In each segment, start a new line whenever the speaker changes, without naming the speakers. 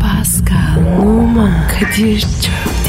Pascal, Oman, Kadir çok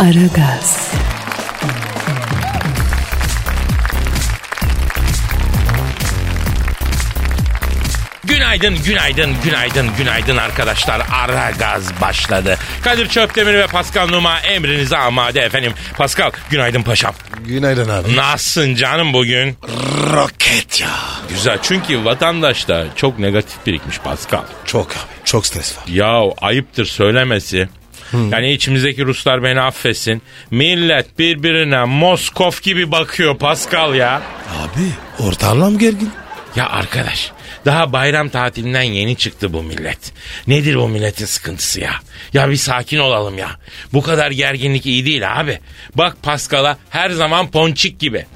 Aragaz,
Günaydın, günaydın, günaydın, günaydın arkadaşlar. Ara gaz başladı. Kadir Çöptemir ve Pascal Numa emrinize amade efendim. Pascal, günaydın paşam.
Günaydın abi.
Nasılsın canım bugün?
Roket ya.
Güzel çünkü vatandaşta çok negatif birikmiş Pascal.
Çok abi. Çok stres var.
Ya ayıptır söylemesi. Yani içimizdeki Ruslar beni affetsin. Millet birbirine Moskov gibi bakıyor Pascal ya.
Abi ortalam gergin.
Ya arkadaş daha bayram tatilinden yeni çıktı bu millet. Nedir bu milletin sıkıntısı ya? Ya bir sakin olalım ya. Bu kadar gerginlik iyi değil abi. Bak Paskal'a her zaman ponçik gibi.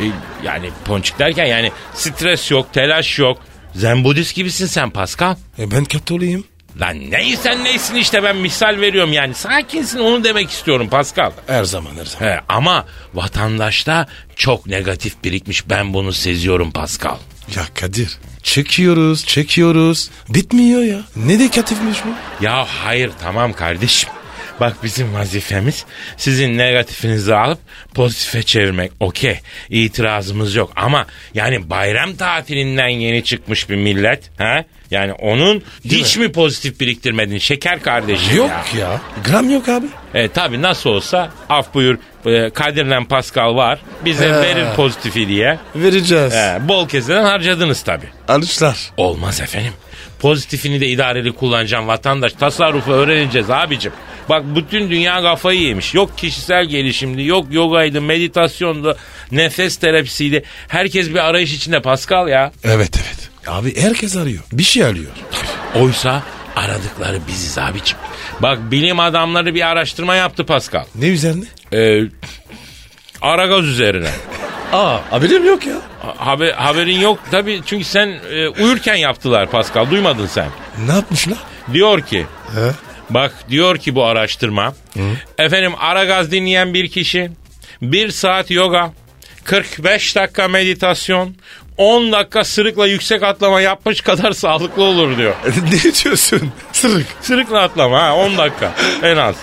E, yani ponçik derken yani stres yok, telaş yok. Zen Budist gibisin sen Paskal.
E ben Katoliyim.
Lan neysen neysin işte ben misal veriyorum yani. Sakinsin onu demek istiyorum Pascal.
Her zaman her zaman.
He, ama vatandaşta çok negatif birikmiş ben bunu seziyorum Pascal.
Ya Kadir. Çekiyoruz çekiyoruz. Bitmiyor ya. Ne dekatifmiş bu?
Ya hayır tamam kardeşim. Bak bizim vazifemiz sizin negatifinizi alıp pozitife çevirmek. Okey itirazımız yok ama yani bayram tatilinden yeni çıkmış bir millet. ha? Yani onun hiç mi pozitif biriktirmedin şeker kardeşim
Yok
ya.
ya. Gram yok abi.
E, tabii nasıl olsa af buyur e, Kadir'le Pascal var bize
He.
verir pozitifi diye.
Vereceğiz.
E, bol keseden harcadınız tabii.
Alışlar.
Olmaz efendim. Pozitifini de idareli kullanacağım vatandaş. Tasarrufu öğreneceğiz abicim. Bak bütün dünya kafayı yemiş. Yok kişisel gelişimdi, yok yogaydı, meditasyondu, nefes terapisiydi. Herkes bir arayış içinde Pascal ya.
Evet evet. Abi herkes arıyor. Bir şey arıyor.
Oysa aradıkları biziz abicim. Bak bilim adamları bir araştırma yaptı Pascal.
Ne üzerine?
Ee, Aragaz üzerine.
Aa haberim yok ya.
Haber, haberin yok tabii çünkü sen e, uyurken yaptılar Pascal duymadın sen.
Ne yapmışlar?
Diyor ki
He?
Bak diyor ki bu araştırma. Efendim Aragaz dinleyen bir kişi 1 saat yoga, 45 dakika meditasyon, 10 dakika sırıkla yüksek atlama yapmış kadar sağlıklı olur diyor.
ne diyorsun? Sırık.
Sırıkla atlama ha 10 dakika en az.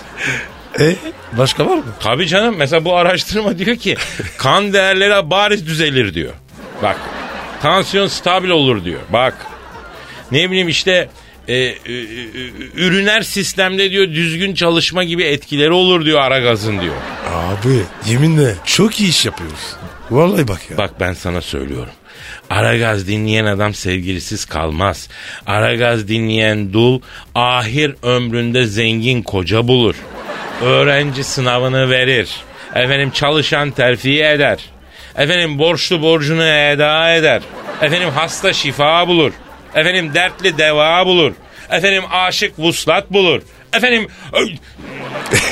E başka var mı?
Tabii canım mesela bu araştırma diyor ki kan değerleri bariz düzelir diyor. Bak tansiyon stabil olur diyor. Bak ne bileyim işte e, ü- ü- ü- üriner sistemde diyor düzgün çalışma gibi etkileri olur diyor ara gazın diyor.
Abi yeminle çok iyi iş yapıyoruz. Vallahi bak ya.
Bak ben sana söylüyorum. Aragaz dinleyen adam sevgilisiz kalmaz. Aragaz dinleyen dul ahir ömründe zengin koca bulur. Öğrenci sınavını verir. Efendim çalışan terfiye eder. Efendim borçlu borcunu eda eder. Efendim hasta şifa bulur. Efendim dertli deva bulur. Efendim aşık vuslat bulur. Efendim Ay!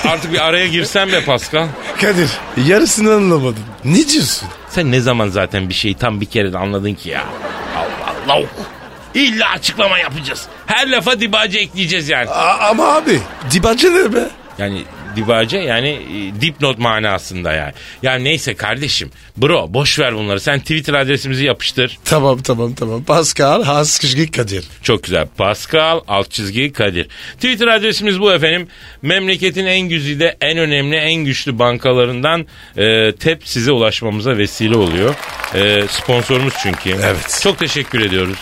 artık bir araya girsem be Pascal.
Kadir yarısını anlamadım. Ne diyorsun?
Sen ne zaman zaten bir şeyi tam bir kere de anladın ki ya? Allah Allah. oku. İlla açıklama yapacağız. Her lafa dibacı ekleyeceğiz yani.
A- ama abi dibacı ne be?
Yani dibacı yani e, dipnot manasında yani. Ya neyse kardeşim. Bro boş ver bunları. Sen Twitter adresimizi yapıştır.
Tamam tamam tamam. Pascal Haskışgi Kadir.
Çok güzel. Pascal alt çizgi Kadir. Twitter adresimiz bu efendim. Memleketin en güzide, en önemli, en güçlü bankalarından e, TEP size ulaşmamıza vesile oluyor. E, sponsorumuz çünkü.
Evet.
Çok teşekkür ediyoruz.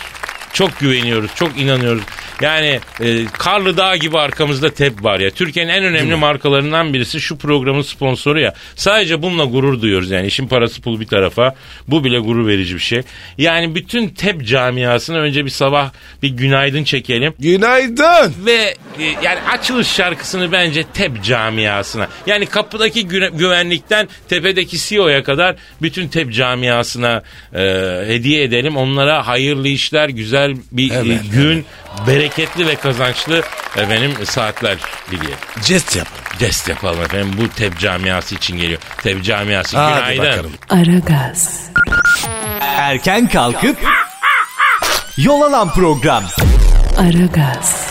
Çok güveniyoruz, çok inanıyoruz. Yani e, Karlı Dağ gibi arkamızda TEP var ya. Türkiye'nin en önemli markalarından birisi şu programın sponsoru ya. Sadece bununla gurur duyuyoruz yani. İşin parası pul bir tarafa. Bu bile gurur verici bir şey. Yani bütün TEP camiasına önce bir sabah bir günaydın çekelim.
Günaydın.
Ve e, yani açılış şarkısını bence TEP camiasına. Yani kapıdaki güne- güvenlikten tepedeki CEO'ya kadar bütün TEP camiasına e, hediye edelim. Onlara hayırlı işler, güzel bir e,
Hemen,
gün, bereketli ve kazançlı efendim saatler dileyelim.
Jest yap.
Jest yapalım efendim. Bu teb camiası için geliyor. Teb camiası.
Hadi
Günaydın.
bakalım.
Aragaz,
Erken kalkıp yol alan program.
Aragaz,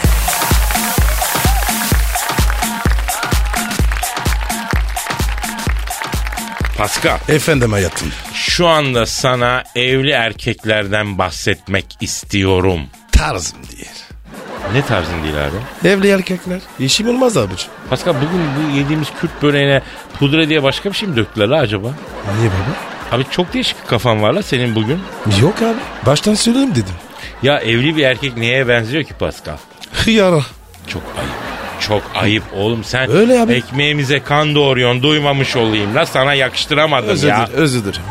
Pascal.
Efendim hayatım.
Şu anda sana evli erkeklerden bahsetmek istiyorum.
Tarzım diye.
Ne tarzın değil abi?
Evli erkekler. İşim olmaz abicim.
Pascal bugün bu yediğimiz Kürt böreğine pudra diye başka bir şey mi döktüler la acaba?
Niye baba?
Abi çok değişik bir kafan var la senin bugün.
Yok abi. Baştan söyleyeyim dedim.
Ya evli bir erkek neye benziyor ki Pascal?
Hıyara.
Çok ayıp. Çok ayıp oğlum sen
Öyle abi.
ekmeğimize kan doğuruyorsun duymamış olayım la sana yakıştıramadım
Özür
ya.
dilerim, özür dilerim,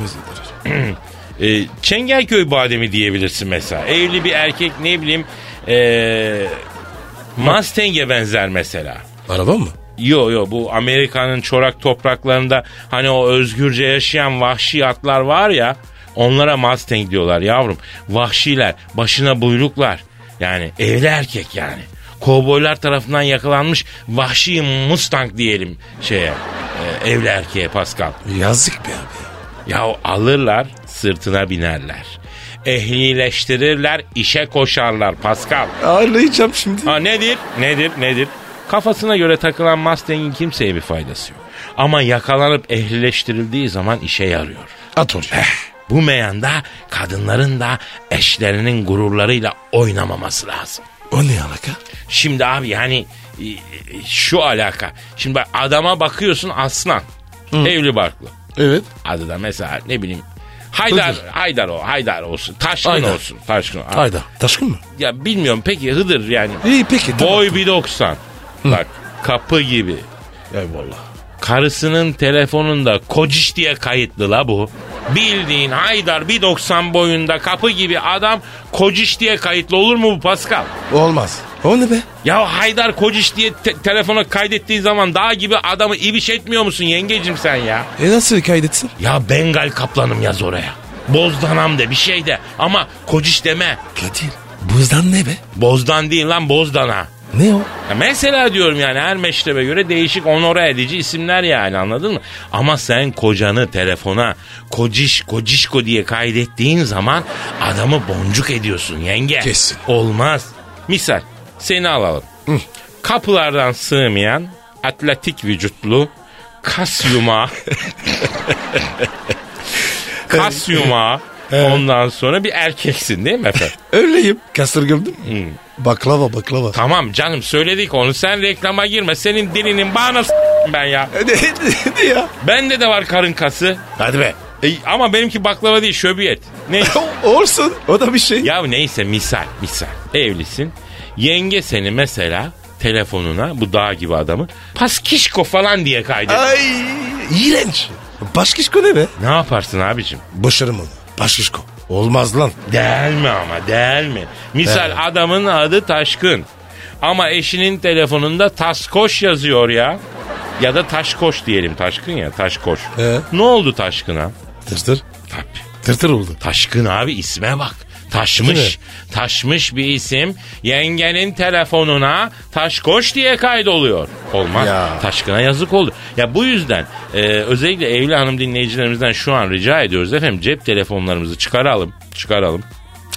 özür dilerim.
Ee, Çengelköy bademi diyebilirsin mesela. Evli bir erkek ne bileyim ee, Mustang'e benzer mesela.
Araba mı?
Yo yo bu Amerika'nın çorak topraklarında hani o özgürce yaşayan vahşi atlar var ya onlara Mustang diyorlar yavrum. Vahşiler başına buyruklar yani evli erkek yani. Kovboylar tarafından yakalanmış vahşi Mustang diyelim şeye e, evli erkeğe Pascal.
Yazık be abi ya.
Ya alırlar sırtına binerler. Ehlileştirirler işe koşarlar Pascal.
Ağırlayacağım şimdi.
Ha nedir? Nedir? Nedir? Kafasına göre takılan Mustang'in kimseye bir faydası yok. Ama yakalanıp ehlileştirildiği zaman işe yarıyor.
At oraya.
Bu meyanda kadınların da eşlerinin gururlarıyla oynamaması lazım.
O ne alaka?
Şimdi abi yani e, e, şu alaka. Şimdi bak adama bakıyorsun aslan. Evli barklı.
Evet.
Adı da mesela ne bileyim Haydar,
Hıdır.
Haydar o, Haydar olsun. Taşkın
Haydar.
olsun. Taşkın.
Hayda. Taşkın mı?
Ya bilmiyorum peki Hıdır yani.
İyi peki.
Boy 1.90. Bak kapı gibi.
Eyvallah.
Karısının telefonunda kociş diye kayıtlı la bu. Bildiğin Haydar 1.90 boyunda kapı gibi adam kociş diye kayıtlı olur mu bu Pascal?
Olmaz. O ne be?
Ya Haydar kociş diye te- telefona kaydettiği zaman dağ gibi adamı ibiş etmiyor musun yengecim sen ya?
E nasıl kaydetsin?
Ya Bengal kaplanım yaz oraya. Bozdanam de bir şey de ama kociş deme.
Kadir. Buzdan ne be?
Bozdan değil lan bozdana.
Ne o?
Ya mesela diyorum yani her meşrebe göre değişik onora edici isimler yani anladın mı? Ama sen kocanı telefona kociş kocişko diye kaydettiğin zaman adamı boncuk ediyorsun yenge.
Kesin.
Olmaz. Misal seni alalım. Kapılardan sığmayan atletik vücutlu kas yumağı. kas yumağı. Ondan sonra bir erkeksin değil mi efendim?
Öyleyim. Kasır gördün mü? Baklava baklava.
Tamam canım söyledik onu. Sen reklama girme. Senin dilinin bağına s- ben ya.
E, ne, ne, ne ya?
Bende de var karın kası.
Hadi be.
E, ama benimki baklava değil şöbiyet. Neyse.
Olsun. O da bir şey.
ya neyse misal misal. Evlisin. Yenge seni mesela telefonuna bu dağ gibi adamı paskişko falan diye kaydet.
Ay. İğrenç. Başkişko ne be?
Ne yaparsın abicim?
Boşarım onu. Başkişko. Olmaz lan.
Değil mi ama değil mi? Misal
Evet.
adamın adı Taşkın. Ama eşinin telefonunda Taskoş yazıyor ya. Ya da Taşkoş diyelim Taşkın ya Taşkoş.
Ee?
Ne oldu Taşkın'a?
Tırtır.
Tabii.
Tırtır oldu.
Taşkın abi isme bak.
Değil
Taşmış. Taşmış bir isim yengenin telefonuna taşkoş diye kaydoluyor. Olmaz.
Ya.
Taşkına yazık oldu. Ya bu yüzden e, özellikle evli hanım dinleyicilerimizden şu an rica ediyoruz efendim cep telefonlarımızı çıkaralım. Çıkaralım.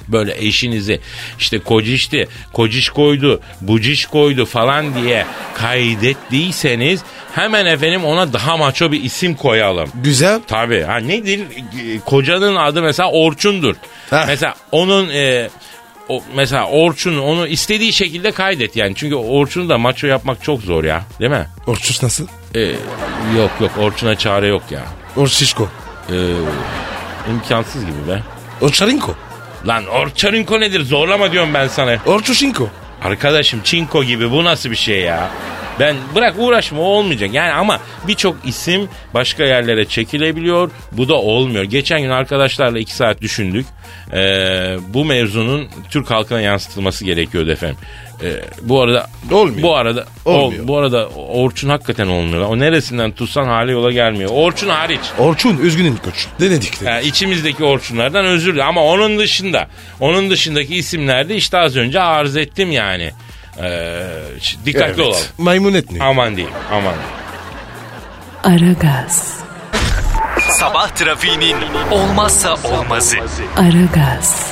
Böyle eşinizi işte kocişti, kociş koydu, buciş koydu falan diye kaydettiyseniz hemen efendim ona daha maço bir isim koyalım.
Güzel.
Tabii. Ha nedir? E, Kocanın adı mesela Orçun'dur.
Heh.
Mesela onun e, o, mesela Orçun onu istediği şekilde kaydet yani. Çünkü Orçun'u da maço yapmak çok zor ya. Değil mi?
Orçuş nasıl?
E, yok yok Orçun'a çare yok ya.
Orçişko.
E, imkansız gibi be.
Orçarinko.
Lan Orçarinko nedir? Zorlama diyorum ben sana.
Orçuşinko.
Arkadaşım Çinko gibi bu nasıl bir şey ya? Ben bırak uğraşma o olmayacak. Yani ama birçok isim başka yerlere çekilebiliyor. Bu da olmuyor. Geçen gün arkadaşlarla iki saat düşündük. Ee, bu mevzunun Türk halkına yansıtılması gerekiyordu efendim. Ee, bu arada
Olmuyor.
Bu arada
Olmuyor.
ol- bu arada Orçun hakikaten olmuyor. lan. O neresinden tutsan hali yola gelmiyor. Orçun hariç.
Orçun üzgünüm koç. Denedik de.
Ha, Ee, içimizdeki Orçunlardan özür dilerim. Ama onun dışında, onun dışındaki isimlerde işte az önce arz ettim yani. Ee, ş- dikkatli
Evet.
olalım.
Maymun etmiyor.
Aman diyeyim, aman.
Aragaz,
Sabah trafiğinin olmazsa olmazı.
Aragaz,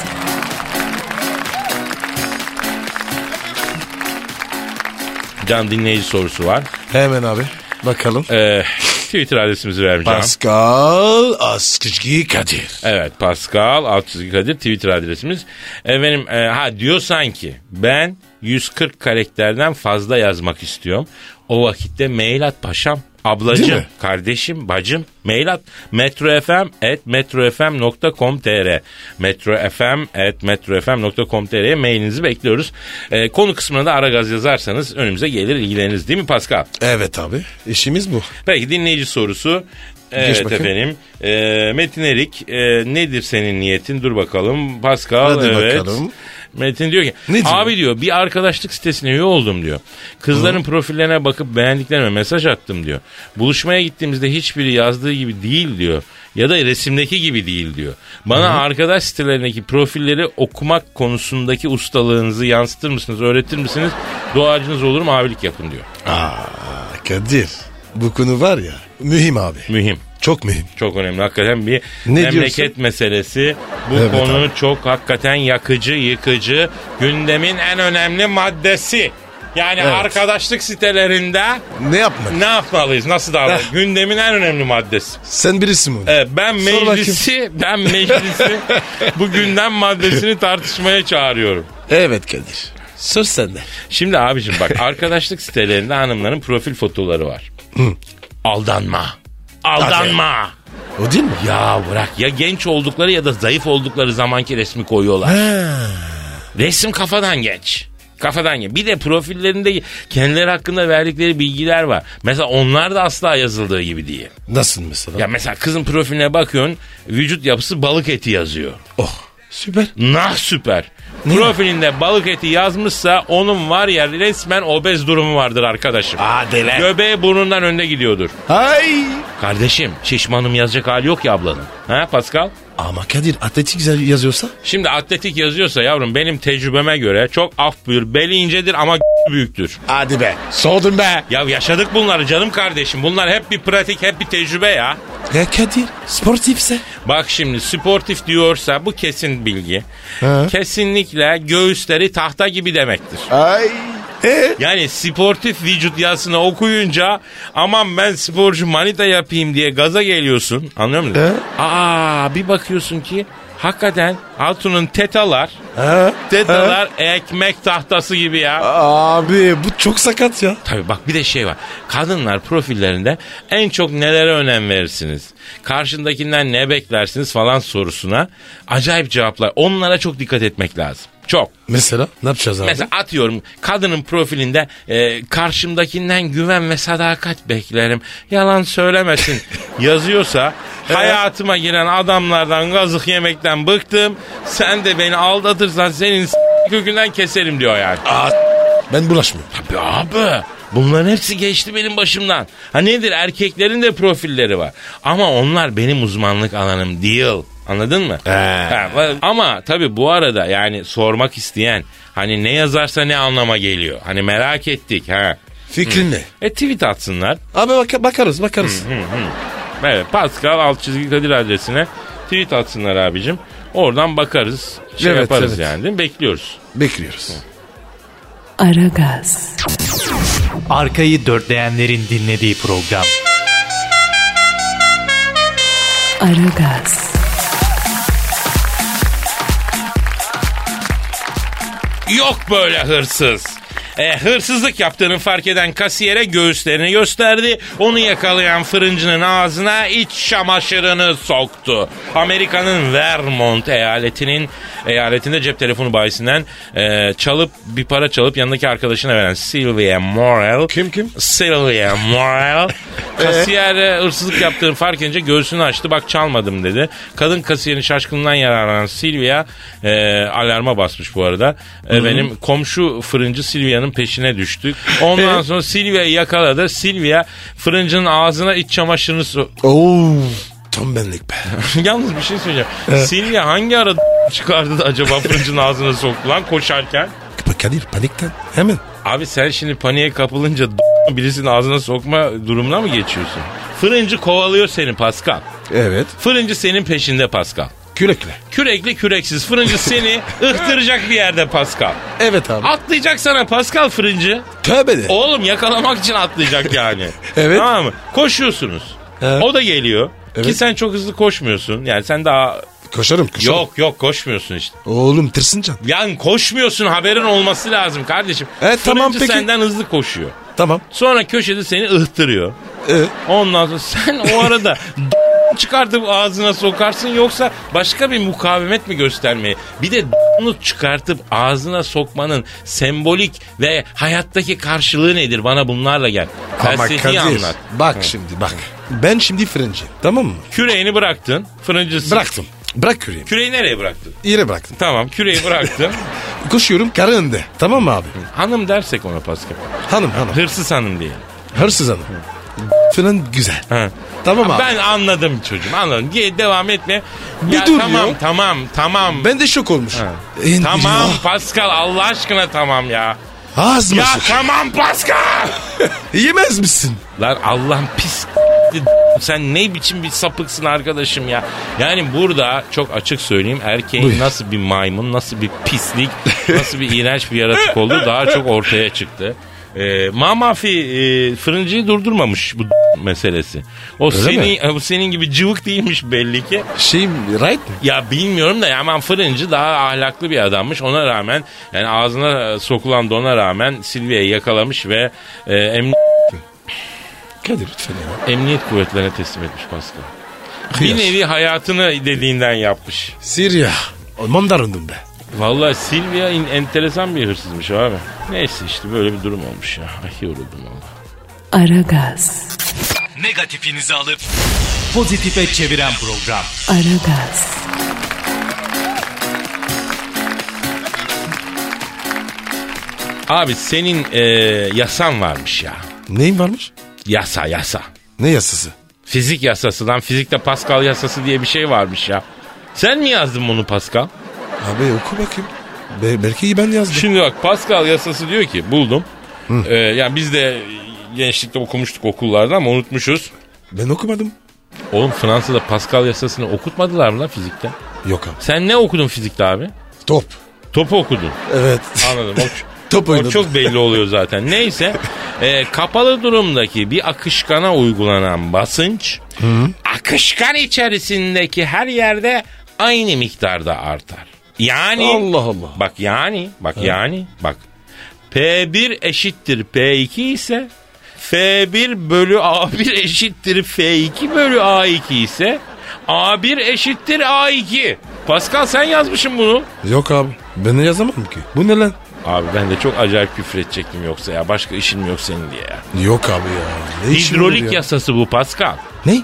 Can dinleyici sorusu var.
Hemen abi. Bakalım.
Ee, Twitter adresimizi vermeyeceğim.
Pascal Askışki Kadir.
Evet Pascal Altçizgi Kadir Twitter adresimiz. Efendim e, ha diyor sanki ben 140 karakterden fazla yazmak istiyorum. O vakitte mail at paşam.
Değil
Ablacım,
mi?
kardeşim, bacım mail at metrofm at metrofm.com.tr metrofm at metrofm.com.tr'ye mailinizi bekliyoruz. E, konu kısmına da aragaz yazarsanız önümüze gelir ilgileniriz değil mi Pascal?
Evet abi. İşimiz bu.
Peki dinleyici sorusu. Evet
bakayım.
efendim. Ee, Metin Erik e, nedir senin niyetin? Dur bakalım. Pascal
Hadi
evet.
bakalım.
Metin diyor ki
Ne diyor?
abi diyor bir arkadaşlık sitesine üye oldum diyor. Kızların profillerine bakıp beğendiklerime mesaj attım diyor. Buluşmaya gittiğimizde hiçbiri yazdığı gibi değil diyor. Ya da resimdeki gibi değil diyor. Bana arkadaş sitelerindeki profilleri okumak konusundaki ustalığınızı yansıtır mısınız, öğretir misiniz? Doğacınız olur mu abilik yapın diyor.
Aa, Kadir. Bu konu var ya. Mühim abi.
Mühim.
Çok mühim.
Çok önemli. Hakikaten bir
Ne
memleket
diyorsun?
meselesi. Bu
Evet
konu çok hakikaten yakıcı, yıkıcı. Gündemin en önemli maddesi. Yani
Evet.
arkadaşlık sitelerinde
Ne yapmak?
ne yapmalıyız? Nasıl davranmalıyız?
Heh.
Gündemin en önemli maddesi.
Sen birisin bunu.
Evet, ben
Sor bakayım.
meclisi, ben meclisi bu gündem maddesini tartışmaya çağırıyorum.
Evet Kadir. Sor sen de.
Şimdi abicim bak arkadaşlık sitelerinde hanımların profil fotoları var. Aldanma. Aldanma.
O değil mi?
Ya bırak ya genç oldukları ya da zayıf oldukları zamanki resmi koyuyorlar. Resim kafadan genç. Kafadan genç. Bir de profillerinde kendileri hakkında verdikleri bilgiler var. Mesela onlar da asla yazıldığı gibi değil.
Nasıl mesela?
Ya mesela kızın profiline bakıyorsun vücut yapısı balık eti yazıyor.
Oh. Süper.
Nah süper. Profilinde balık eti yazmışsa onun var ya resmen obez durumu vardır arkadaşım.
Hadi lan.
Göbeği burnundan önde gidiyordur.
Ay.
Kardeşim şişmanım yazacak hali yok ya ablanın. Ha Pascal?
Ama Kadir atletik yazıyorsa?
Şimdi atletik yazıyorsa yavrum benim tecrübeme göre çok af buyur beli incedir ama büyüktür.
Hadi be. Sordun be.
Ya yaşadık bunları canım kardeşim. Bunlar hep bir pratik hep bir tecrübe ya.
Ya Kadir sportifse?
Bak şimdi sportif diyorsa bu kesin bilgi.
He.
Kesinlikle göğüsleri tahta gibi demektir.
Ay. E?
Yani sportif vücut yazısını okuyunca aman ben sporcu manita yapayım diye gaza geliyorsun. Anlıyor musun?
He.
Aa bir bakıyorsun ki hakikaten Hatun'un tetalar
Ha?
tetalar ekmek tahtası gibi ya.
Abi bu çok sakat ya.
Tabii bak bir de şey var. Kadınlar profillerinde en çok nelere önem verirsiniz? Karşındakinden ne beklersiniz falan sorusuna acayip cevaplar. Onlara çok dikkat etmek lazım. Çok.
Mesela ne yapacağız abi?
Mesela atıyorum kadının profilinde e, karşımdakinden güven ve sadakat beklerim. Yalan söylemesin yazıyorsa hayatıma giren adamlardan gazık yemekten bıktım. Sen de beni aldatırsan senin s- kökünden keserim diyor yani.
Ben bulaşmıyorum.
Tabii abi. Bunların hepsi geçti benim başımdan. Ha nedir erkeklerin de profilleri var. Ama onlar benim uzmanlık alanım değil. Anladın mı? Ha, va- ama tabii bu arada yani sormak isteyen hani ne yazarsa ne anlama geliyor. Hani merak ettik ha.
Fikrin ne?
E tweet atsınlar.
Abi baka- bakarız bakarız.
Evet Pascal alt çizgi Kadir adresine tweet atsınlar abicim. Oradan bakarız. Şey
Evet,
yaparız
evet.
yani değil mi? Bekliyoruz.
Bekliyoruz.
Aragaz,
Arkayı dörtleyenlerin dinlediği program.
Aragaz,
Yok böyle hırsız. E, hırsızlık yaptığını fark eden kasiyere göğüslerini gösterdi. Onu yakalayan fırıncının ağzına iç şamaşırını soktu. Amerika'nın Vermont eyaletinin eyaletinde cep telefonu bayisinden e, çalıp bir para çalıp yanındaki arkadaşına veren Sylvia Morel.
Kim, kim?
Sylvia Morel. Kasiyer e, hırsızlık yaptığını fark edince göğsünü açtı bak çalmadım dedi. Kadın kasiyerin şaşkınlığından yararlanan Silvia e, alarma basmış bu arada. E, benim komşu fırıncı Silvia'nın peşine düştük. Ondan sonra Silvia'yı yakaladı. Silvia fırıncının ağzına iç çamaşırını so-
Oo. Tam benlik be.
Yalnız bir şey söyleyeceğim. Silvia hangi ara çıkardı da acaba fırıncının ağzına soktu lan koşarken?
Kadir panikten. Hemen.
Abi sen şimdi paniğe kapılınca birisinin ağzına sokma durumuna mı geçiyorsun? Fırıncı kovalıyor seni Pascal.
Evet.
Fırıncı senin peşinde Pascal.
Kürekle.
Kürekli küreksiz fırıncı seni ıhtıracak bir yerde Pascal.
Evet abi.
Atlayacak sana Pascal fırıncı.
Tövbe de.
Oğlum yakalamak için atlayacak yani.
Evet.
Tamam mı? Koşuyorsunuz.
Evet.
O da geliyor.
Evet.
Ki sen çok hızlı koşmuyorsun. Yani sen daha
Koşarım koşarım.
yok yok koşmuyorsun işte.
Oğlum tırsincan.
Yani koşmuyorsun haberin olması lazım kardeşim.
Evet,
Fırıncı
tamam, peki.
senden hızlı koşuyor.
Tamam.
Sonra köşede seni ıhtırıyor.
Ee,
Ondan sonra sen o arada çıkartıp ağzına sokarsın yoksa başka bir mukavemet mi göstermeye? Bir de onu çıkartıp ağzına sokmanın sembolik ve hayattaki karşılığı nedir? Bana bunlarla gel. Felsefeyi anlat.
Bak şimdi bak. Ben şimdi fırıncı. Tamam mı?
Küreğini bıraktın. Fırıncısın.
Bıraktım. Bırak küreğimi.
Küreği nereye bıraktın?
Yere bıraktım.
Tamam küreği bıraktın.
Koşuyorum karı önde. Tamam mı abi?
hanım dersek ona Pascal.
Hanım hanım.
Hırsız hanım diye.
Hırsız hanım. Fırın güzel.
Ha.
Tamam abi.
Ben anladım çocuğum anladım. Ge- Devam etme.
Bir dur
Tamam
ya.
tamam tamam.
Ben de şok olmuş.
Tamam Pascal Allah aşkına tamam ya.
Ah, Az mı?
Ya
şok?
tamam Pascal.
Yemez misin?
Lan Allah'ın pis sen ne biçim bir sapıksın arkadaşım ya. Yani burada çok açık söyleyeyim erkeğin
Buyur.
nasıl bir maymun, nasıl bir pislik, nasıl bir iğrenç bir yaratık olduğu daha çok ortaya çıktı. Ee, Mamafi e, fırıncıyı durdurmamış bu meselesi. O senin o senin gibi cıvık değilmiş belli ki.
Şey right mi?
Ya bilmiyorum da ya aman fırıncı daha ahlaklı bir adammış. Ona rağmen yani ağzına e, sokulan da ona rağmen Silvia'yı yakalamış ve e, emni-
Kadir lütfen ya.
emniyet kuvvetlerine teslim etmiş Pascal.
Kıyas.
Bir nevi hayatını dediğinden yapmış.
Sirya. Alman'da arındım be.
Vallahi Silvia in- enteresan bir hırsızmış abi. Neyse işte böyle bir durum olmuş ya. Ay yoruldum valla.
Aragaz,
Negatifinizi alıp pozitife çeviren program.
Aragaz,
Abi senin e, yasan varmış ya.
Neyin varmış?
Yasa yasa.
Ne yasası?
Fizik yasası lan. Fizikte Pascal yasası diye bir şey varmış ya. Sen mi yazdın bunu Pascal?
Abi oku bakayım. Be- belki ben yazdım.
Şimdi bak Pascal yasası diyor ki buldum. Ee, yani biz de gençlikte okumuştuk okullarda ama unutmuşuz.
Ben okumadım.
Oğlum Fransa'da Pascal yasasını okutmadılar mı lan fizikte?
Yok abi.
Sen ne okudun fizikte abi?
Top.
Topu okudun.
Evet.
Anladım. O,
Top
o
oynadım.
çok belli oluyor zaten. Neyse e, kapalı durumdaki bir akışkana uygulanan basınç akışkan içerisindeki her yerde aynı miktarda artar. Yani
Allah Allah.
Bak yani, bak yani, bak. P1 eşittir P2 ise F1 bölü A1 eşittir F2 bölü A2 ise A1 eşittir A2. Pascal sen yazmışsın bunu.
Yok abi. Ben de yazamam ki. Bu ne lan?
Abi ben de çok acayip küfür edecektim yoksa ya. Başka işin mi yok senin diye ya.
Yok abi ya. Ne işim
Hidrolik
olur
yasası bu Pascal.
Ne?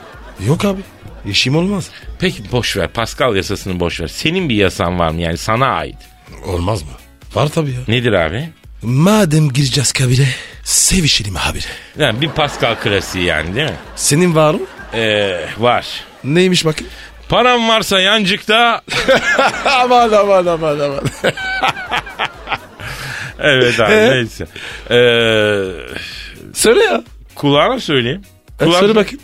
Yok abi. İşim olmaz.
Peki boş ver. Pascal yasasını boş ver. Senin bir yasan var mı yani sana ait?
Olmaz mı? Var tabii ya.
Nedir abi?
Madem gireceğiz kabire, sevişelim abi.
Yani bir Pascal klasiği yani değil mi?
Senin var mı?
Ee, var.
Neymiş bakayım?
Param varsa yancıkta.
aman aman aman aman.
evet abi
Ee?
neyse. Ee,
Söyle ya.
kulağına söyleyeyim. Kulağına-
Söyle bakayım.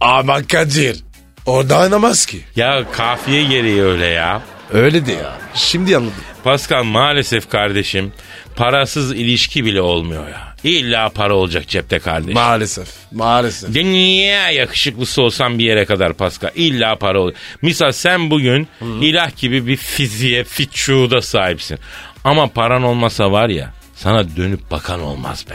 Ama Kadir. O dayanamaz ki.
Ya kafiye gereği öyle ya.
Öyle de ya. Şimdi anladım.
Pascal maalesef kardeşim parasız ilişki bile olmuyor ya. İlla para olacak cepte kardeşim.
Maalesef. Maalesef.
Dünya yakışıklısı olsan bir yere kadar Pascal. İlla para olur. Misal sen bugün ilah gibi bir fiziğe, fiçuğda sahipsin. Ama paran olmasa var ya Sana dönüp bakan olmaz be.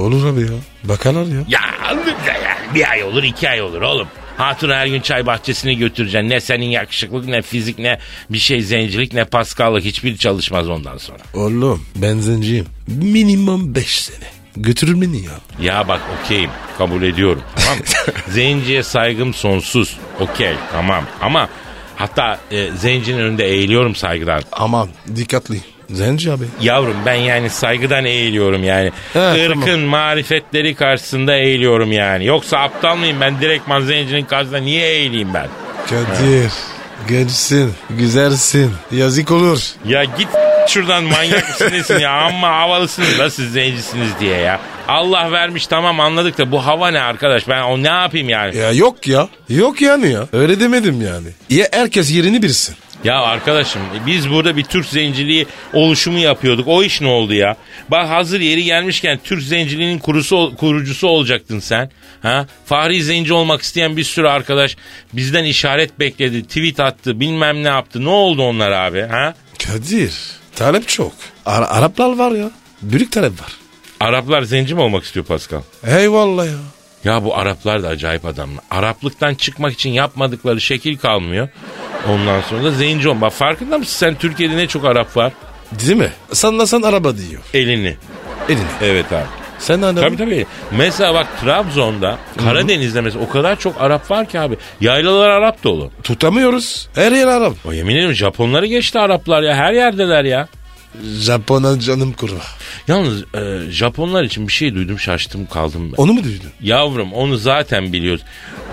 Olur abi ya. Bakarlar ya.
Ya bir ay olur iki ay olur oğlum. Hatun her gün çay bahçesine götüreceksin. Ne senin yakışıklık ne fizik ne bir şey zencilik ne paskallık hiçbir çalışmaz ondan sonra.
Oğlum ben zenciyim. Minimum 5 sene. Götürür beni ya.
Ya bak okeyim kabul ediyorum tamam mı? Zenciye saygım sonsuz okey tamam ama hatta e, zencinin önünde eğiliyorum saygıdan.
Aman dikkatli. Zenci abi.
Yavrum ben yani saygıdan eğiliyorum yani.
He,
Irkın
tamam.
marifetleri karşısında eğiliyorum yani. Yoksa aptal mıyım ben direktman zencinin karşısında niye eğileyim ben?
Kadir. Gençsin. Güzelsin. Yazık olur.
Ya git şuradan manyak mısınız ya amma havalısınız da siz zencisiniz diye ya. Allah vermiş tamam anladık da bu hava ne arkadaş ben o ne yapayım yani.
Ya yok ya. Yok yani ya. Öyle demedim yani. Ya herkes yerini bilsin.
Ya arkadaşım biz burada bir Türk zenciliği oluşumu yapıyorduk o iş ne oldu ya. Bak hazır yeri gelmişken Türk zenciliğinin kurusu, ol- kurucusu olacaktın sen. Ha? Fahri zenci olmak isteyen bir sürü arkadaş bizden işaret bekledi tweet attı bilmem ne yaptı ne oldu onlar abi ha?
Kadir. Talep çok. Ara- Araplar var ya. Büyük talep var.
Araplar zenci mi olmak istiyor Pascal?
Eyvallah ya.
Ya bu Araplar da acayip adamlar. Araplıktan çıkmak için yapmadıkları şekil kalmıyor. Ondan sonra da zenci olma. Farkında mısın sen Türkiye'de ne çok Arap var?
Değil mi? Sallasan araba diyor.
Elini.
Elini.
Evet abi.
Sen hani
Tabii tabii. Mesela bak Trabzon'da, Karadeniz'de mesela o kadar çok Arap var ki abi. Yaylalar Arap dolu.
tutamıyoruz. Her yer Arap.
O yemin ederim Japonları geçti Araplar ya. Her yerdeler ya.
Japon'a canım kurva.
Yalnız e, Japonlar için bir şey duydum şaştım kaldım ben.
Onu mu duydun?
Yavrum onu zaten biliyoruz.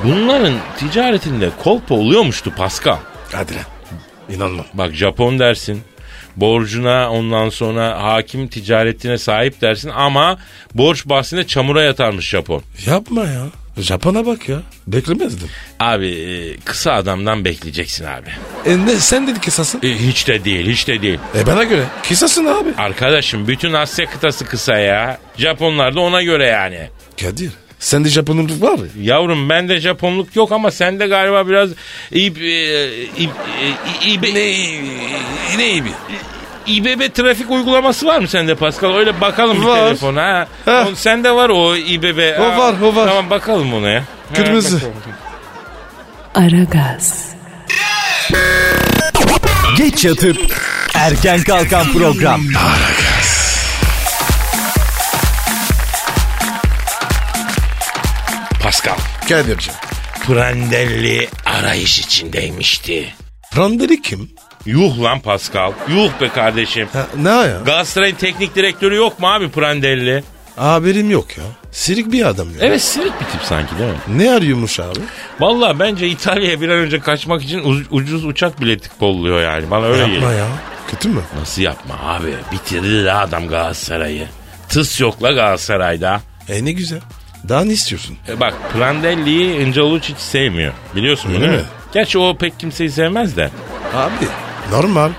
Bunların ticaretinde kolpa oluyormuştu Pascal.
Hadi lan. İnanmam.
Bak Japon dersin. Borcuna ondan sonra hakim ticaretine sahip dersin ama borç bahsinde çamura yatarmış Japon.
Yapma ya. Japon'a bak ya. Beklemezdim.
Abi e, kısa adamdan bekleyeceksin abi.
E ne, sen dedin kısasın.
E, hiç de değil hiç de değil.
E bana göre. Kısasın abi.
Arkadaşım bütün Asya kıtası kısa ya. Japonlar da ona göre yani.
Kadir. Sende Japonluk var ya.
Yavrum bende Japonluk yok ama sende galiba biraz ip, e, ip, e, ibe,
Ne iyi
İBB trafik uygulaması var mı sende Pascal? Öyle bakalım
Var.
bir telefona. Ha.
Heh.
O- Sende var o İBB.
O
Ha,
var, o var.
Tamam bakalım ona ya.
Kırmızı.
Ha, bakalım.
Aragaz,
Geç yatıp erken kalkan program.
Pascal.
Kadir'cim.
Prandelli arayış içindeymişti.
Randeli kim?
Yuh lan Pascal. Yuh be kardeşim.
Ha, ne ya?
Galatasaray'ın teknik direktörü yok mu abi Prandelli?
Haberim yok ya. Sirik bir adam ya.
Evet silik bir tip sanki değil mi?
Ne arıyormuş abi?
Valla bence İtalya'ya bir an önce kaçmak için uz- ucuz uçak bileti kolluyor yani. Bana öyle geliyor.
Yapma ya. Kötü mü?
Nasıl yapma abi? Bitirdi de adam Galatasaray'ı. Tıs yok la Galatasaray'da.
E ne güzel. Daha ne istiyorsun?
E bak Prandelli'yi Incaluç hiç sevmiyor. Biliyorsun bunu
Öyle
değil mi?
mi?
Gerçi o pek kimseyi sevmez de.
Abi normal.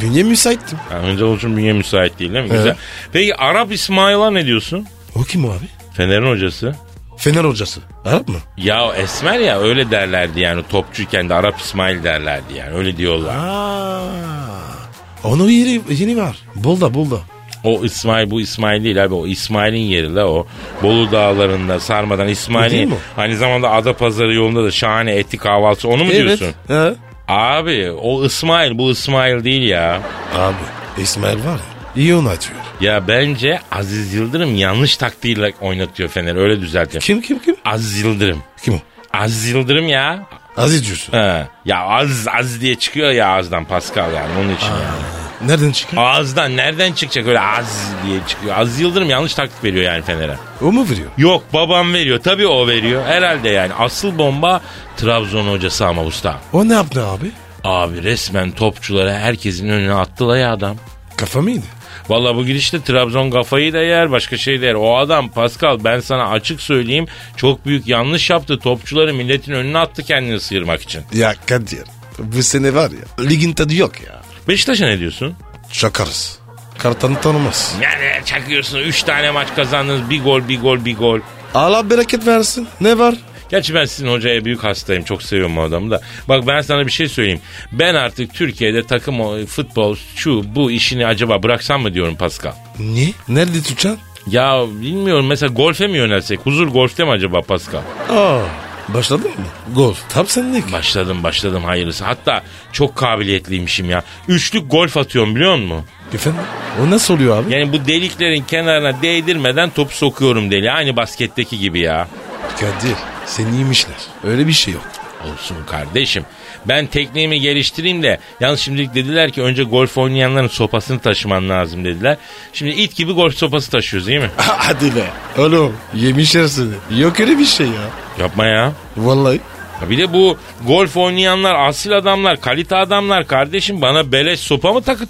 Bünye müsaittim.
Yani Incaluç'un bünye müsait değil değil mi?
Evet.
Güzel. Peki Arap İsmail'a ne diyorsun?
O kim o abi?
Fener'in hocası.
Fener hocası. Arap mı?
Ya Esmer ya öyle derlerdi yani topçuyken de Arap İsmail derlerdi yani öyle diyorlar.
Aa. Onun yeri, yeni var. Bolda bolda.
O İsmail bu İsmail değil abi o İsmail'in yeri la o. Bolu dağlarında sarmadan
O değil
İsmail'in
mi?
aynı zamanda Adapazarı yolunda da şahane etli kahvaltısı onu mu diyorsun?
He.
Abi o İsmail bu İsmail değil ya.
Abi İsmail var ya. İyi onu atıyor.
Ya bence Aziz Yıldırım yanlış taktiğiyle oynatıyor Fener'i öyle düzeltiyor.
Kim kim kim?
Aziz Yıldırım.
Kim o?
Aziz Yıldırım ya.
Aziz Cürsün.
He. Ya az az diye çıkıyor ya ağızdan Pascal yani onun için yani.
Nereden çıkar?
Ağızdan nereden çıkacak öyle az diye çıkıyor. Aziz Yıldırım yanlış taktik veriyor yani Fener'e.
O mu veriyor?
Yok babam veriyor. Tabii o veriyor. Herhalde yani. Asıl bomba Trabzon hocası ama usta.
O ne yaptı abi?
Abi resmen topçulara herkesin önüne attı la ya adam.
Kafa mıydı?
Valla bu gidişte Trabzon kafayı da yer başka şey de yer. O adam Pascal ben sana açık söyleyeyim çok büyük yanlış yaptı. Topçuları milletin önüne attı kendini sıyırmak için.
Ya Kadir bu sene var ya ligin tadı yok ya.
Beşiktaş'a ne diyorsun?
Çakarız. Kartanı tanımaz.
Yani çakıyorsun 3 tane maç kazandınız bir gol bir gol bir gol.
Allah bereket versin. Ne var?
Gerçi ben sizin hocaya büyük hastayım. Çok seviyorum o adamı da. Bak ben sana bir şey söyleyeyim. Ben artık Türkiye'de takım o- futbol şu bu işini acaba bıraksam mı diyorum Pascal.
Niye? Nerede tutacaksın?
Ya bilmiyorum mesela golfe mi yönelsek? Huzur golfte mi acaba Pascal?
Aa. Başladın mı? Golf. Tam senlik.
Başladım başladım hayırlısı. Hatta çok kabiliyetliymişim ya. Üçlük golf atıyorum biliyor musun?
Efendim? O nasıl oluyor abi?
Yani bu deliklerin kenarına değdirmeden topu sokuyorum deli. Aynı basketteki gibi ya.
Kadir. Seni yemişler. Öyle bir şey yok.
Olsun kardeşim. Ben tekniğimi geliştireyim de yalnız şimdilik dediler ki önce golf oynayanların sopasını taşıman lazım dediler. Şimdi it gibi golf sopası taşıyoruz değil mi?
Hadi be. Oğlum yemişler seni. Yok öyle bir şey ya.
Yapma ya.
Vallahi.
Ya Bir de bu golf oynayanlar asil adamlar, kalite adamlar kardeşim bana beleş sopa mı takı,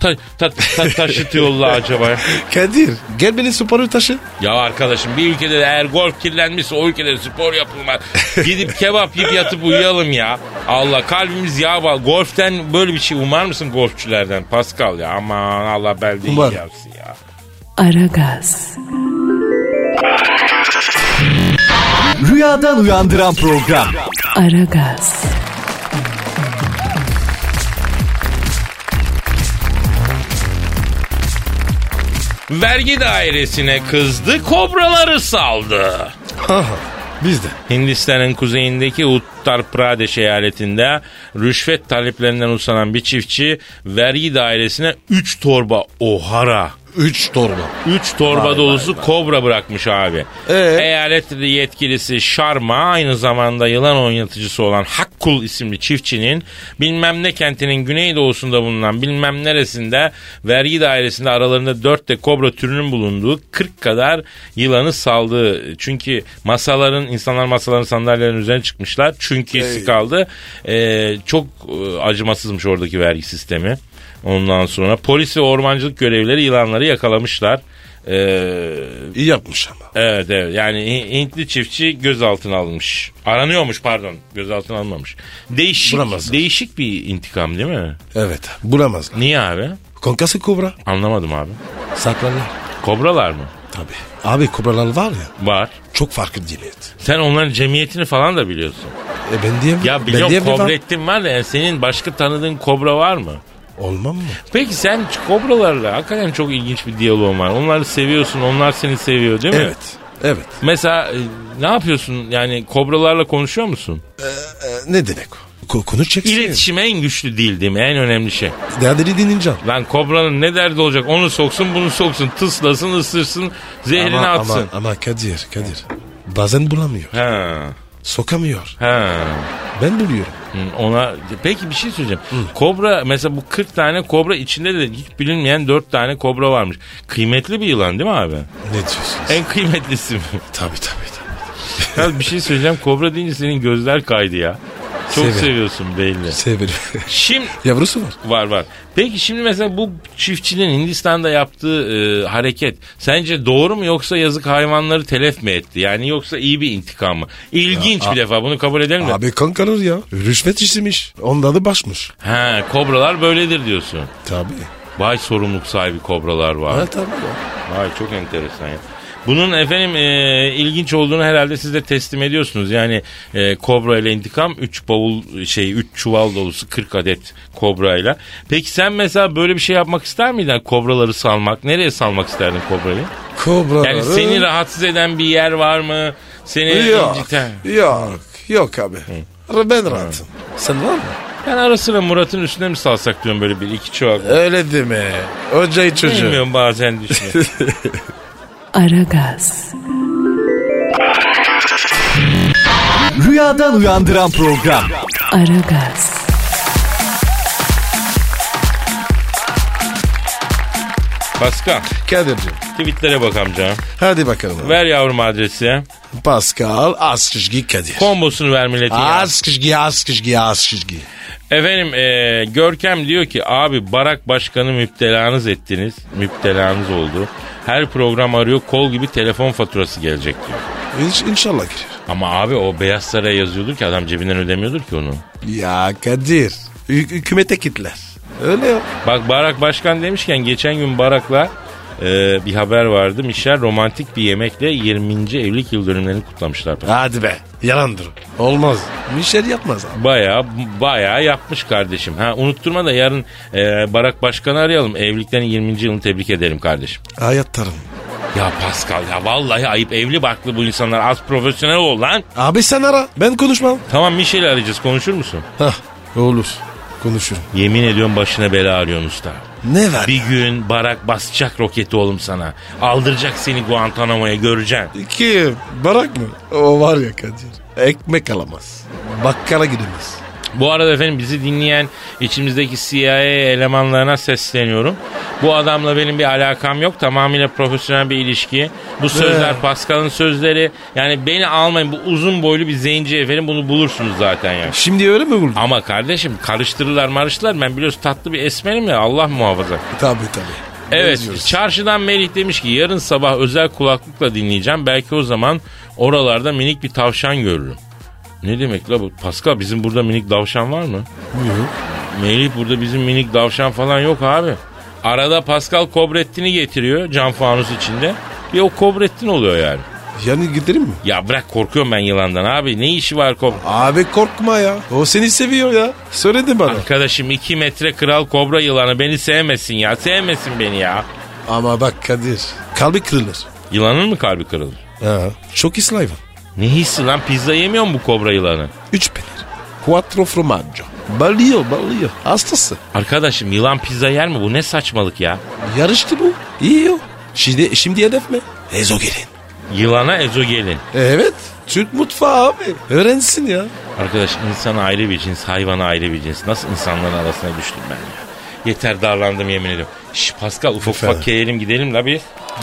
ta, ta, ta- taşıtıyorlar acaba? ya?
Kadir gel beni sporu taşı.
Ya arkadaşım bir ülkede de eğer golf kirlenmişse o ülkede spor yapılmaz. Gidip kebap yiyip yatıp uyuyalım ya. Allah kalbimiz yağ bal. Golften böyle bir şey umar mısın golfçülerden Pascal ya? Aman Allah beldeyi
Umarım.
yapsın ya.
Aragaz,
Rüyadan uyandıran program.
Aragaz,
Vergi dairesine kızdı kobraları saldı.
Aha biz de.
Hindistan'ın kuzeyindeki Uttar Pradesh eyaletinde rüşvet taleplerinden usanan bir çiftçi vergi dairesine 3 torba ohara
Üç torba.
3 torba dolusu kobra bırakmış abi.
Ee?
Eyalet yetkilisi Sharma aynı zamanda yılan oynatıcısı olan Hakkul isimli çiftçinin bilmem ne kentinin güneydoğusunda bulunan bilmem neresinde vergi dairesinde aralarında 4 de kobra türünün bulunduğu 40 kadar yılanı saldığı. Çünkü masaların insanlar masaların sandalyelerin üzerine çıkmışlar. Çünkü kaldı. Ee, çok e, acımasızmış oradaki vergi sistemi. Ondan sonra polis ve ormancılık görevlileri yılanları yakalamışlar. Ee,
İyi yapmış ama.
evet evet yani Hi- Hintli çiftçi gözaltına alınmış. Aranıyormuş pardon gözaltına alınmamış. Değişik,
Bulamazlar.
değişik bir intikam değil mi?
Evet bulamaz.
Niye abi?
Konkası kobra.
Anlamadım abi.
Saklanır.
Kobralar mı?
Tabii. Abi kobralar var ya
Var.
çok farklı cilet.
Sen onların cemiyetini falan da biliyorsun.
E ben diyemem.
Ya
ben
biliyorum
diyemem lan.
kobrettin var da yani senin başka tanıdığın kobra var mı?
Olmam mı?
Peki sen kobralarla hakikaten çok ilginç bir diyaloğun var. Onları seviyorsun, onlar seni seviyor değil mi?
Evet. Evet.
Mesela e, ne yapıyorsun yani kobralarla konuşuyor musun?
E, ne demek o? Ko konuşacaksın.
İletişim en güçlü değil değil mi? En önemli şey.
Derdini dinleyeceğim.
Lan kobranın ne derdi olacak? Onu soksun bunu soksun. Tıslasın ısırsın zehrini
ama, ama,
atsın.
ama Kadir Kadir. Bazen bulamıyor.
Ha,
Sokamıyor.
ha.
Ben buluyorum.
Hı, Ona peki bir şey söyleyeceğim. Kobra mesela bu 40 tane kobra içinde de hiç bilinmeyen 4 tane kobra varmış. Kıymetli bir yılan değil mi abi?
Ne diyorsun?
En kıymetlisi mi?
Tabii tabii tabii.
ya bir şey söyleyeceğim. Kobra deyince senin gözler kaydı ya. Çok
Severim.
seviyorsun belli.
Severim.
Şimdi
Yavrusu var.
Var var. Peki şimdi mesela bu çiftçinin Hindistan'da yaptığı e, hareket sence doğru mu yoksa yazık hayvanları telef mi etti? Yani yoksa iyi bir intikam mı? İlginç bir defa bunu kabul edelim mi?
Abi kankalar ya. Rüşvet işlemiş. Onda da başmış.
He kobralar böyledir diyorsun.
Tabii.
Vay sorumluluk sahibi kobralar var.
Ha, tabii ya.
Vay çok enteresan ya. Bunun efendim e, ilginç olduğunu herhalde siz de teslim ediyorsunuz. Yani e, kobra ile intikam 3 bavul şey 3 çuval dolusu 40 adet kobra ile. Peki sen mesela böyle bir şey yapmak ister miydin? Kobraları salmak. Nereye salmak isterdin kobrayı?
Kobraları...
Yani seni rahatsız eden bir yer var mı? Seni
Yok.
inciten.
Yok. Yok abi. Ben rahatım. Sen var mı?
Ben ara sıra Murat'ın üstüne mi salsak diyorum böyle bir iki çuval.
Öyle deme. Hocayı çocuğu.
Bilmiyorum bazen düşünüyorum.
Aragaz,
Rüyadan uyandıran program.
Aragaz,
Paskal
Kadir'cim.
tweetlere bak amca.
Hadi bakalım.
Ver yavrum adresi.
Pascal Askışgi Kadir.
Kombosunu ver milletin. ya.
Askışgi Askışgi Askışgi.
Efendim e, Görkem diyor ki abi Barak Başkanı müptelanız ettiniz. Müptelanız oldu. Her program arıyor kol gibi telefon faturası gelecek diyor.
İnş, inşallah girer.
Ama abi o Beyaz Saray'a yazıyordur ki adam cebinden ödemiyordur ki onu.
Ya Kadir. Hü- hükümete kitler. Öyle yok.
Bak Barak Başkan demişken geçen gün Barak'la e, bir haber vardı. Michel romantik bir yemekle 20. evlilik yıl dönümlerini kutlamışlar.
Hadi be. Yalandır. Olmaz. Michel yapmaz abi.
Baya baya yapmış kardeşim. Ha unutturma da yarın e, Barak Başkan'ı arayalım. Evliliklerin 20. yılını tebrik edelim kardeşim.
Hayatlarım.
Ya Pascal ya vallahi ayıp evli baklı bu insanlar az profesyonel ol lan.
Abi sen ara. Ben konuşmam.
Tamam Michel'i arayacağız konuşur musun?
Hah. Olur. Konuşurum.
Yemin ediyorum başına bela arıyorsun usta.
Ne var?
Bir gün Barak basacak roketi oğlum sana. Aldıracak seni Guantanamo'ya göreceksin.
İki. Barak mı? O var ya Kadir. Ekmek alamaz. Bakkala gidemez.
Bu arada efendim bizi dinleyen içimizdeki CIA elemanlarına sesleniyorum. Bu adamla benim bir alakam yok. Tamamıyla profesyonel bir ilişki. Bu sözler
Ee.
Pascal'ın sözleri. Yani beni almayın. Bu uzun boylu bir zenci efendim bunu bulursunuz zaten yani.
Şimdi öyle mi buldun?
Ama kardeşim karıştırırlar marıştırırlar. Ben biliyorsun tatlı bir esmerim ya Allah muhafaza.
Tabii tabii.
Evet
Benziyoruz.
çarşıdan Melih demiş ki yarın sabah özel kulaklıkla dinleyeceğim. Belki o zaman oralarda minik bir tavşan görürüm. Ne demek la bu? Pascal bizim burada minik tavşan var mı?
Yok.
Melih burada bizim minik davşan falan yok abi. Arada Pascal Kobrettin'i getiriyor cam fanus içinde. Bir o Kobrettin oluyor yani.
Yani gidelim mi?
Ya bırak korkuyorum ben yılandan abi. Ne işi var Kob...
Abi korkma ya. O seni seviyor ya. Söyledi bana.
Arkadaşım 2 metre kral kobra yılanı beni sevmesin ya. Sevmesin beni ya.
Ama bak Kadir. Kalbi kırılır.
Yılanın mı kalbi kırılır?
Ha. Çok isli hayvan.
Ne hissi lan pizza yemiyor mu bu kobra yılanı?
Üç peynir. Quattro formaggio. Balıyor balıyor. Hastası.
Arkadaşım yılan pizza yer mi? Bu ne saçmalık ya?
Yarıştı bu. İyi yok. Şimdi, şimdi hedef mi? Ezogelin.
Yılana ezogelin.
Evet. Türk mutfağı abi. Öğrensin ya.
Arkadaş insan ayrı bir cins, hayvan ayrı bir cins. Nasıl insanların arasına düştüm ben ya? Yeter darlandım yemin ediyorum. Şş Pascal ufak
Efendim?
ufak keyelim gidelim la bir.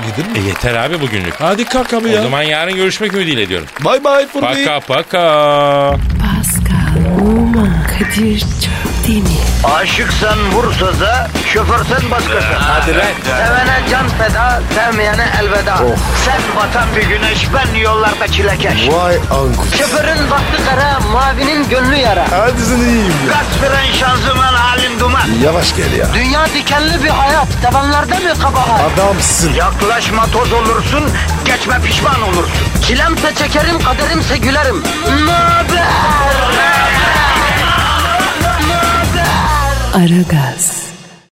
Gidelim
E yeter abi bugünlük.
Hadi kalk abi
O
ya.
zaman yarın görüşmek ümidiyle diyorum.
Bay bay Furby.
Paka paka.
Pascal, Oman, Kadir çok değil mi?
Aşıksan vursa da, şoförsen başkasın. Hadi
lan.
Sevene can feda, sevmeyene elveda. Sen batan bir güneş, ben yollarda çilekeş.
Vay anku.
Şoförün baktı kara, mavinin gönlü yara.
Hadi sen iyiyim ya.
Kasperen şanzıman halin duman.
Yavaş gel ya.
Dünya dikenli bir hayat, sevenlerde mi kabahar?
Adamsın.
Yaklaşma toz olursun, geçme pişman olursun. Çilemse çekerim, kaderimse gülerim. Möber!
Aragaz.